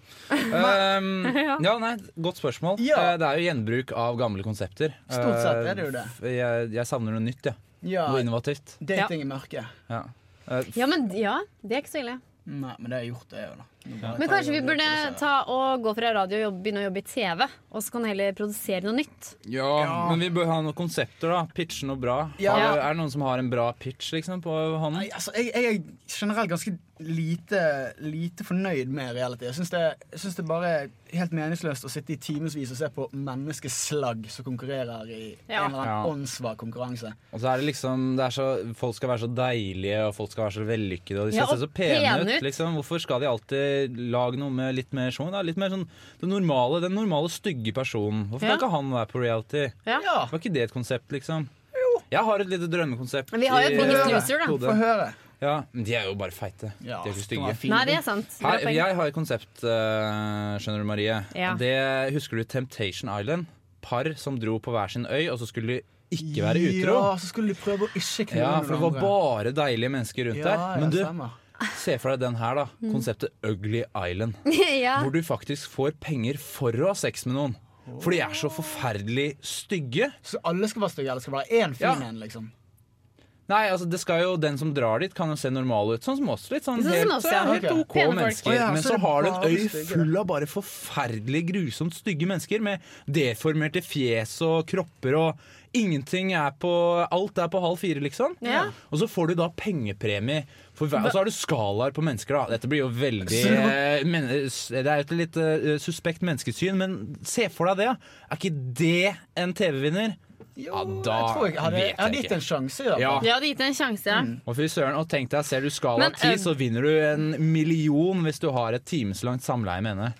S5: Ehm, ja, nei, Godt spørsmål.
S4: Ja.
S5: Eh, Det er jo gjenbruk av gamle konsepter.
S4: Stort sett er det jo det.
S5: Eh, f- Jeg, jeg savner noe nytt, jeg.
S4: Ja,
S5: Noe innovativt.
S4: dating i mørket.
S5: Ja. Eh, f-
S1: Ja, men ja, det er ikke så ille.
S4: Nei, men det har jeg gjort, det òg, da. Nå bare
S1: Men
S4: tar jeg
S1: kanskje vi
S4: og
S1: burde
S4: produserer.
S1: ta og gå fra radio og jobb, begynne å jobbe i TV, og så kan heller produsere noe nytt.
S5: Ja, Men vi bør ha noen konsepter, da. Pitche noe bra.
S4: Ja.
S5: Har du- Er det noen som har en bra pitch liksom, på hånden?
S4: Nei, altså, jeg, jeg er generelt ganske lite, lite fornøyd med reality. Jeg syns det, jeg synes det bare er helt meningsløst å sitte i timevis og se på menneskeslagg som konkurrerer i
S1: Ja.
S4: en eller annen
S5: Ja.
S4: åndssvak konkurranse.
S5: Og så er det liksom det er så, Folk skal være så deilige, og folk skal være så vellykkede, og de skal
S1: Ja, og
S5: se så pene
S1: pene
S5: ut.
S1: ut.
S5: Liksom. Hvorfor skal de alltid lage noe med litt mer sjung? Da? Litt mer sånn det normale, den normale stygge personen. Hvorfor
S1: Ja.
S5: kan ikke han være på reality?
S1: Ja.
S4: Ja.
S5: Var ikke det et konsept, liksom? Jeg har et lite drømmekonsept.
S1: Men vi har jo
S5: i
S1: et Biggest
S5: hodet.
S1: Loser, da.
S4: Få høre.
S5: Ja, men de er jo bare feite. de er ikke
S4: det var
S5: stygge.
S4: fint.
S1: Nei, det er sant. Bra
S5: Her,
S1: poeng.
S5: jeg har et konsept, eh, skjønner du, Marie.
S1: Ja.
S5: Det Husker du Temptation Island? Par som dro på hver sin øy, og så skulle de ikke være utro.
S4: Ja, så skulle de prøve å ikke knulle
S5: Ja,
S4: noen
S5: for det var
S4: andre.
S5: bare deilige mennesker rundt
S4: ja,
S5: der.
S4: ja,
S5: Men du,
S4: stemmer.
S5: se for deg den her, da. Konseptet Ugly Island.
S1: Mm. ja.
S5: Hvor du faktisk får penger for å ha sex med noen. For de er så forferdelig stygge.
S4: Så alle skal være stygge, eller skal det være én fin
S5: Ja.
S4: en, liksom?
S5: Nei, altså det skal jo, Den som drar dit, kan jo se normal ut. Sånn som oss. litt sånn
S1: Sånn som
S5: Helt,
S1: oss, ja.
S5: helt
S4: Ok.
S5: OK
S1: Pene folk.
S5: mennesker.
S4: Å ja,
S5: Men
S4: så
S5: så
S4: det er
S5: har du et
S4: bare
S5: øy
S4: stygge, da.
S5: full av bare forferdelig grusomt stygge mennesker med deformerte fjes og kropper og Ingenting er på Alt er på halv fire, liksom.
S1: Ja.
S5: Og så får du da pengepremie. For hver, og så har du skalaer på mennesker, da. Dette blir jo veldig
S4: Så det var-
S5: eh, men, s- Det er jo et litt eh, suspekt menneskesyn, men se for deg det. da. Er ikke det en TV-vinner? Ja, da
S4: jeg tror jeg hadde,
S5: vet
S4: jeg hadde
S5: jeg
S4: gitt
S5: ikke.
S4: en sjanse. i hvert
S5: Ja.
S4: fall.
S1: Jeg hadde gitt det en sjanse, ja.
S5: Og fy søren, og tenk deg, ser du skala
S1: Men,
S5: 10,
S1: eh,
S5: så vinner du en million hvis du har et timeslangt samleie med henne.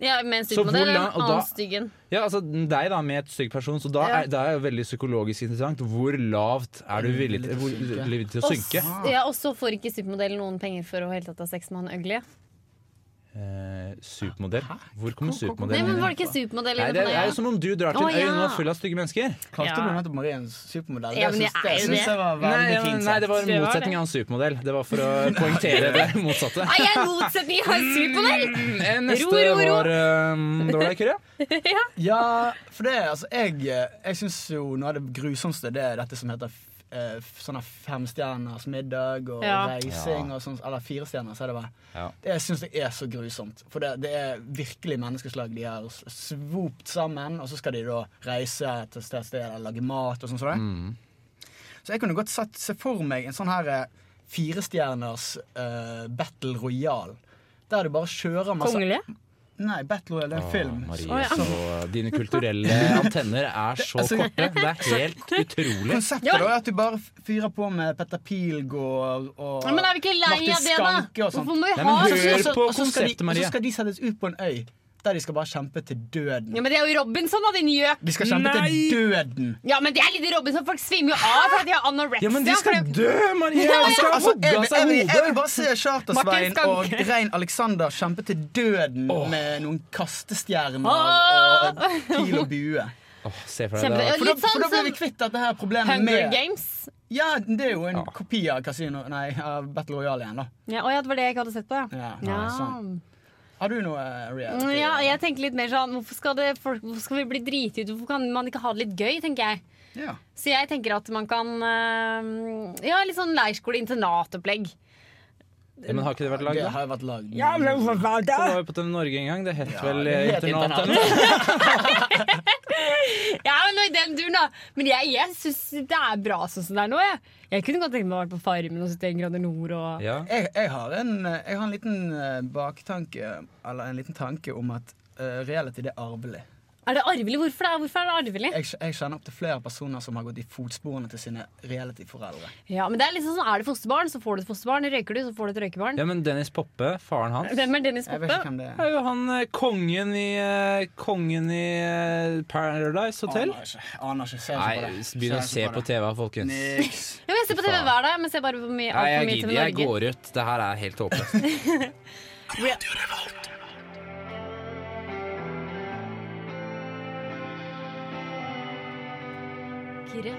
S1: ja med en
S5: Så
S1: stygg
S5: hvor
S1: modell eller
S5: lang- og
S1: en
S5: da-
S1: annen styggen.
S5: Ja, altså deg da, med et stygg person, så da
S1: Ja.
S5: er det er jo veldig psykologisk interessant. Hvor lavt er du villig til, hvor, villig til Mm, å
S1: Og
S5: synke?
S1: s- Ja, og så får ikke supermodellen noen penger for å helt tatt ha sex med han ugly.
S5: Eh, supermodell? Hvor kommer
S1: Nei, men
S5: supermodellen
S1: var det ikke supermodell?
S5: Nei, det er jo som om du drar til
S1: Å,
S5: en øy
S1: ja.
S5: nå full av stygge mennesker.
S4: Kalte
S1: Ja.
S4: du nettopp Marie en supermodell?
S1: Ja, men
S4: syns-
S1: jeg er jo
S4: syns
S1: det.
S4: jeg var
S5: Nei,
S4: veldig
S5: ja, men-
S4: fint.
S5: nei, det var en
S1: Det var det.
S5: motsetning av en supermodell. Det var for å poengtere det motsatte.
S1: Nei, jeg er en motsetning! Jeg har en supermodell!
S5: Mm, Eh,
S1: Ro,
S5: Neste
S1: ro, ro.
S5: var eh, Dårlig kurre.
S4: Ja, for det, altså, jeg, jeg syns jo noe av det grusomste det er dette som heter f- eh, f- sånne femstjerners middag og
S1: Ja.
S4: reising og sånn, eller firestjerners er det vel.
S5: Ja.
S4: Det syns jeg er så grusomt. For det, det er virkelig menneskeslag. De har s- svopt sammen, og så skal de da reise til et sted, sted eller lage mat og sånn som det.
S5: Mm.
S4: Så jeg kunne godt sett, se for meg en sånn her eh, firestjerners eh, battle royal. Der du bare kjører masse
S1: Kongelige?
S4: Nei, battle royal det er en film.
S5: Marie,
S1: Å, ja.
S5: så dine kulturelle antenner er så
S4: altså,
S5: korte. Det er helt utrolig.
S4: Konseptet
S1: Ja.
S4: da er at du bare fyrer på med Petter Pilgaard og
S1: Ja, men er vi ikke lei
S4: Martin
S1: av det, da?
S4: Skanke og sånt.
S1: Hvorfor må vi ha
S5: Nei,
S1: sånn-
S4: Og
S5: men
S4: så-
S5: hør
S4: og så-
S5: på
S4: og så skal de-
S5: konseptet, Maria.
S4: Og så skal de settes ut på en øy der de skal bare kjempe til døden.
S1: Ja, men det er jo Robinson, da, din gjøk.
S4: De skal kjempe til døden.
S1: Ja, men det er litt Robinson. Folk svimer jo av fordi de har anoreksia.
S5: Ja, men de
S1: for
S5: skal
S1: det-
S5: dø, Marie! De skal
S4: Altså, jeg,
S5: hogge av
S4: vil- jeg,
S5: seg
S4: vil- jeg vil
S5: hodet.
S4: bare se Charter-Svein
S1: Martin Skanke.
S4: og Rein Alexander kjempe til døden
S5: Åh.
S4: med noen
S1: Åh.
S4: kastestjerner og pil og bue.
S5: Åh, se for deg
S1: Kjempe-
S5: det.
S1: Ja,
S4: For da,
S1: Litt
S4: for da
S1: sånn
S4: blir vi
S1: som
S4: kvitt dette her problemet
S1: Hunger
S4: med
S1: Games.
S4: Ja, det er jo en
S5: Ja.
S4: kopi av Casino Nei, av Battle Royale igjen, da.
S1: Ja, å ja, det var det jeg ikke hadde sett på, ja.
S4: Ja,
S1: Ja.
S4: sånn. Har du noe eh,
S1: Mm,
S4: reality?
S1: ja, jeg tenker litt mer sånn Hvorfor skal, det, folk, hvorfor skal vi bli driti ut? Hvorfor kan man ikke ha det litt gøy, tenker jeg.
S4: Ja.
S1: Så jeg tenker at man kan eh, Ja, litt sånn leirskole-internatopplegg.
S5: Ja, men har ikke det vært
S4: Det
S5: lagd? da?
S4: har jo vært lagd.
S5: Det var jo på TV Norge en gang. Det het vel
S4: det
S5: eh,
S4: het
S5: internat.
S4: internat.
S5: eller noe?
S1: Ja, men noe i den duren, da. Men jeg, jeg syns det er bra sånn som det er nå, jeg. Jeg kunne godt tenkt meg å være på Farmen og 71 grader nord og
S5: Ja.
S4: Jeg, jeg, har en, jeg har en liten eh, baktanke, eller en liten tanke om at eh, reality det er arvelig.
S1: Er det arvelig? Hvorfor, det er, hvorfor er det arvelig?
S4: Jeg, jeg kjenner opp til flere personer som har gått i fotsporene til sine reality-foreldre.
S1: Ja, men det Er liksom sånn, er det fosterbarn, så får du et fosterbarn. Røyker du, så får du et røykebarn.
S5: ja, men Dennis Poppe, faren hans
S1: Hvem er Dennis
S4: Jeg vet
S1: Poppe?
S4: ikke hvem det er.
S5: er jo han eh, kongen i eh, Kongen i eh, Paradise Hotel.
S4: Aner ikke. Aner ikke. Ser
S5: Nei,
S4: ikke på det.
S5: begynn å se
S4: Ser ikke
S5: på TV, folkens. Nei,
S4: Niks.
S1: Ja, men Jeg ser på TV
S5: Faen.
S1: hver dag, men ser bare på mye, alt for
S5: jeg
S1: mye
S5: gidder.
S1: TV
S5: Jeg
S1: Norge.
S5: går ut. Det her er helt håpløst.
S1: Kyrre,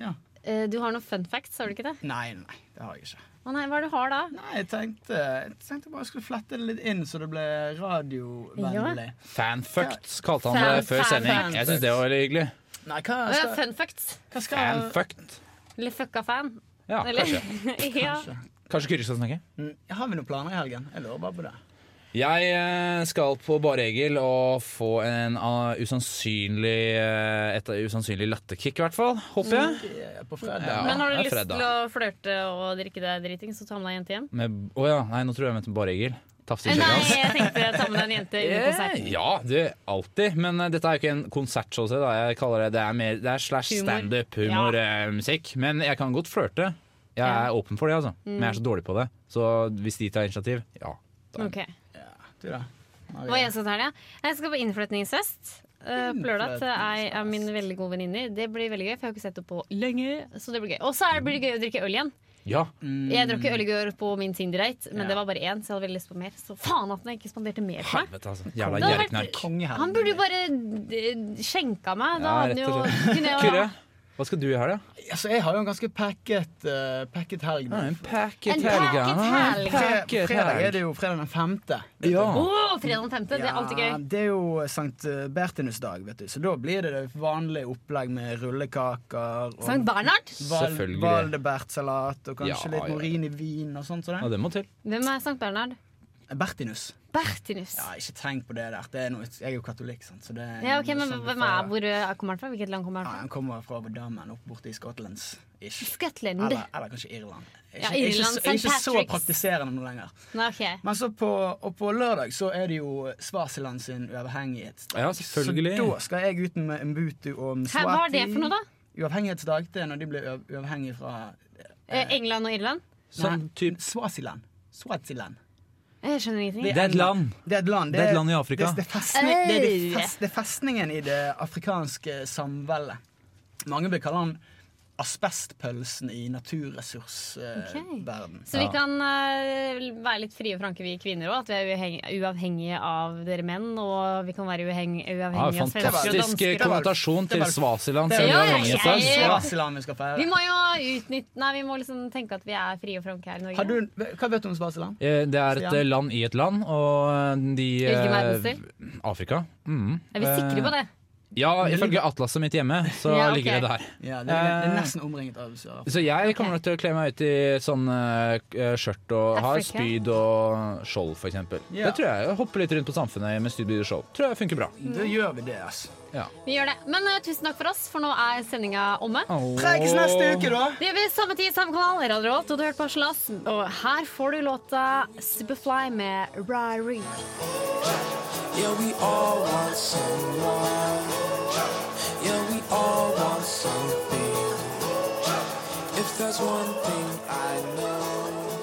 S4: Ja.
S1: eh, du har noen fun facts, har du ikke det?
S4: Nei, nei, det har jeg ikke.
S1: Å nei, Hva er det du har da?
S4: Nei, jeg tenkte, jeg tenkte bare jeg skulle flette det litt inn, så det ble radiovennlig.
S5: Fanfucked kalte han det
S1: Fan-
S5: før
S1: fan-
S5: sending.
S1: fan-
S5: Jeg syns det var veldig hyggelig.
S4: Nei, hva
S1: Å, ja,
S4: skal,
S1: fun facts.
S4: hva skal
S5: Fanfucked.
S1: Eller fucka fan.
S5: Ja,
S1: Eller,
S5: kanskje.
S1: ja.
S4: Kanskje.
S5: Kanskje Kyrre skal snakke?
S4: Mm, Har vi noen planer i helgen? Jeg lurer bare på det.
S5: Jeg eh, skal på Bare Egil og få en ah, usannsynlig, eh, et usannsynlig latterkick, i hvert fall. Håper jeg.
S4: Eh, På fredag.
S5: Ja,
S1: Men har
S5: det
S1: du
S5: er
S1: lyst
S5: fredag.
S1: til å flørte og drikke deg driting, så ta med deg en jente hjem.
S5: Med, å ja, nei, nå tror jeg jeg mente Bare Egil. Tafse i
S1: Eh,
S5: kjøret
S1: Nei,
S5: hans.
S1: jeg tenkte ta med deg en jente under konsert.
S5: Eh, Ja, du, alltid. Men eh, dette er jo ikke en konsert, så å si. Da. Jeg kaller det det er, mer, det er slash
S1: Humor. Ja.
S5: standup-humormusikk. Men jeg kan godt flørte.
S1: Ja.
S5: Jeg
S1: Mm.
S5: er åpen for det, altså. Men jeg er så dårlig på det. Så hvis de tar initiativ, ja. Da.
S1: Ok.
S4: Du da? Maria?
S1: Hva jeg skal ta her, ja? Jeg skal på innflytningsfest. eh, På lørdag til ei av
S4: Innflytningsfest.
S1: mine veldig gode venninner. Det blir veldig gøy, for jeg har ikke sett det på lenge. Så det blir gøy. Og så er det- blir det gøy å drikke øl igjen.
S5: ja.
S4: Mm.
S1: Jeg drakk øl i går på min Tinder-date, men
S5: Ja.
S1: det var bare én, så jeg hadde veldig lyst på mer. Så faen at han ikke spanderte mer på meg.
S5: Helvete, altså. Jævla
S1: Det hadde vært-
S5: gjerriknark.
S4: Konge her.
S1: Han burde jo bare eh, skjenka meg. Da
S5: Ja,
S1: hadde han
S5: rett
S1: jo
S5: og
S1: kunne jeg jo-
S5: Kyrre, hva skal du i helga?
S4: Altså, jeg har jo en ganske packet, eh, packet helg. nå.
S5: En packet
S1: En packet helg.
S4: Fre- Fredag er det jo fredag den femte.
S5: Ja.
S1: Å, fredag den femte, det er alltid
S4: Ja,
S1: gøy.
S4: det er jo Sankt eh, Bertinus dag, vet du. Så da blir det det vanlige opplegg med rullekaker og
S1: Sankt Bernhard?
S4: val
S5: Selvfølgelig.
S4: Valdebertsalat og kanskje
S5: Ja,
S4: litt
S5: ja, ja.
S4: morin i vin og sånt. Så
S5: Ja,
S4: det.
S5: det må til.
S1: Hvem er Sankt Bernhard?
S4: Bertinus.
S1: Bertinus.
S4: Ja, ikke tenk på det der. Det er noe, jeg er jo katolikk, sant. Så det er
S1: Ja, ok, men
S4: noe sånt
S1: hvem
S4: fra-
S1: er, Hvor eh, kommer han fra? Hvilket land kommer
S4: Ja,
S1: han fra?
S4: han kommer fra Verdammen, opp borte i Skottlands. Ish.
S1: Skottland.
S4: Eller, eller kanskje Irland. Ikke,
S1: Ja, Irland,
S4: ikke, så- jeg er ikke
S1: St.
S4: så
S1: Patrick's.
S4: praktiserende nå lenger.
S1: Nei, ok.
S4: Men så på, og på lørdag så er det jo Svasiland sin uavhengighetsdag.
S5: Ja, selvfølgelig.
S4: Så da skal jeg ut med Mbutu og
S1: Hæ,
S4: Mswati.
S1: Hva er det for noe, da?
S4: Uavhengighetsdag. Det er når de ble uav- uavhengige fra
S1: Eh, England og Irland?
S5: Sånn
S4: Nei,
S5: typ
S4: Swaziland. Swaziland.
S1: Jeg skjønner ingenting.
S5: Det er et land.
S4: Det er et land.
S5: Det er et land i Afrika.
S4: Det, det, er festning, det, er de
S1: Øy.
S4: fest, det er festningen i det afrikanske samveldet. Mange vil kalle han asbestpølsen i
S1: Ok.
S4: naturressursverden.
S1: Så vi kan eh, være litt frie og franke, vi kvinner òg. At vi er uavhengige, uavhengige av dere menn. Og vi kan være uavheng,
S5: Ja,
S1: uavhengige av svensker og
S5: fantastisk
S1: dansker. og-
S5: konnotasjon
S4: Det
S5: til
S4: var-
S5: Svasiland.
S4: Det
S5: siden
S1: var-
S5: det altså. var
S1: Ja, ja,
S5: Magnus
S1: ja,
S5: der.
S1: ja.
S4: Swaziland vi skal feire.
S1: Vi må jo utnytte Nei, vi må liksom tenke at vi er frie og franke her i Norge.
S4: Har du, hva vet du om Swaziland?
S5: Eh, Det er et
S4: Stian.
S5: eh, land i et land, og eh, de
S1: Hvilken
S5: eh,
S1: verdensdel?
S5: Afrika. Mm.
S1: er vi sikre
S4: Eh.
S1: på det?
S5: Ja, ifølge atlaset mitt hjemme, så
S1: Ja, ok.
S5: ligger det der.
S4: Ja, det, er- det er nesten omringet av sør.
S5: Så jeg kommer nok til å kle meg ut i sånn eh, k- eh, skjørt og har
S1: Afrika.
S5: spyd og skjold, for eksempel.
S4: Ja.
S5: Det tror jeg. jeg Hopper litt rundt på samfunnet med spyd og skjold. Tror jeg funker bra.
S4: Da gjør vi det, altså.
S1: Vi gjør det. Men eh, tusen takk for oss, for nå er sendinga omme.
S4: Prekes neste uke, da!
S1: Det gjør vi samme tid, samme kanal. Radio Revolt, og du har hørt på Harselas. Og her får du låta Superfly med Ryrie.
S8: Yeah, we all want someone. Yeah, we all want something. If there's one thing I know.